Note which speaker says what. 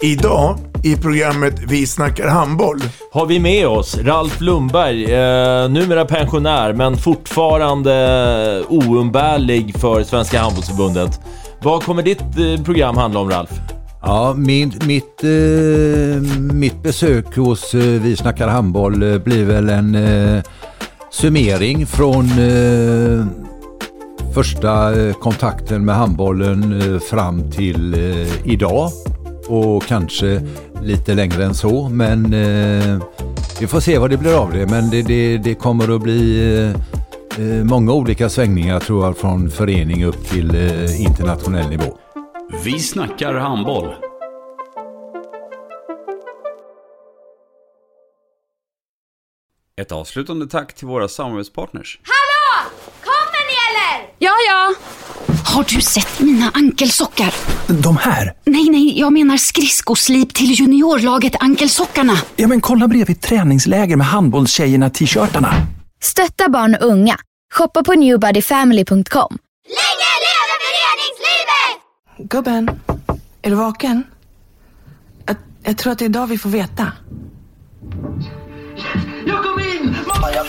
Speaker 1: Idag i programmet Vi snackar handboll.
Speaker 2: har vi med oss Ralf Lundberg, eh, numera pensionär men fortfarande oumbärlig för Svenska Handbollsförbundet. Vad kommer ditt eh, program handla om Ralf?
Speaker 3: Ja, min, mitt, eh, mitt besök hos eh, Vi snackar handboll eh, blir väl en eh, summering från eh, första eh, kontakten med handbollen eh, fram till eh, idag och kanske lite längre än så. Men eh, vi får se vad det blir av det. Men det, det, det kommer att bli eh, eh, många olika svängningar tror jag från förening upp till eh, internationell nivå.
Speaker 4: Vi snackar handboll. Ett avslutande tack till våra samarbetspartners.
Speaker 5: Hallå! Kommer ni eller?
Speaker 6: Ja, ja. Har du sett mina ankelsockar?
Speaker 7: De här?
Speaker 6: Nej, nej, jag menar skridskoslip till juniorlaget Ankelsockarna.
Speaker 7: Ja, men kolla bredvid träningsläger med handbollstjejerna-t-shirtarna.
Speaker 8: Stötta barn och unga. Shoppa på newbodyfamily.com.
Speaker 5: Länge leve föreningslivet!
Speaker 9: Gubben, är du vaken? Jag, jag tror att det är idag vi får veta.
Speaker 10: Jag kom in! Mamma, jag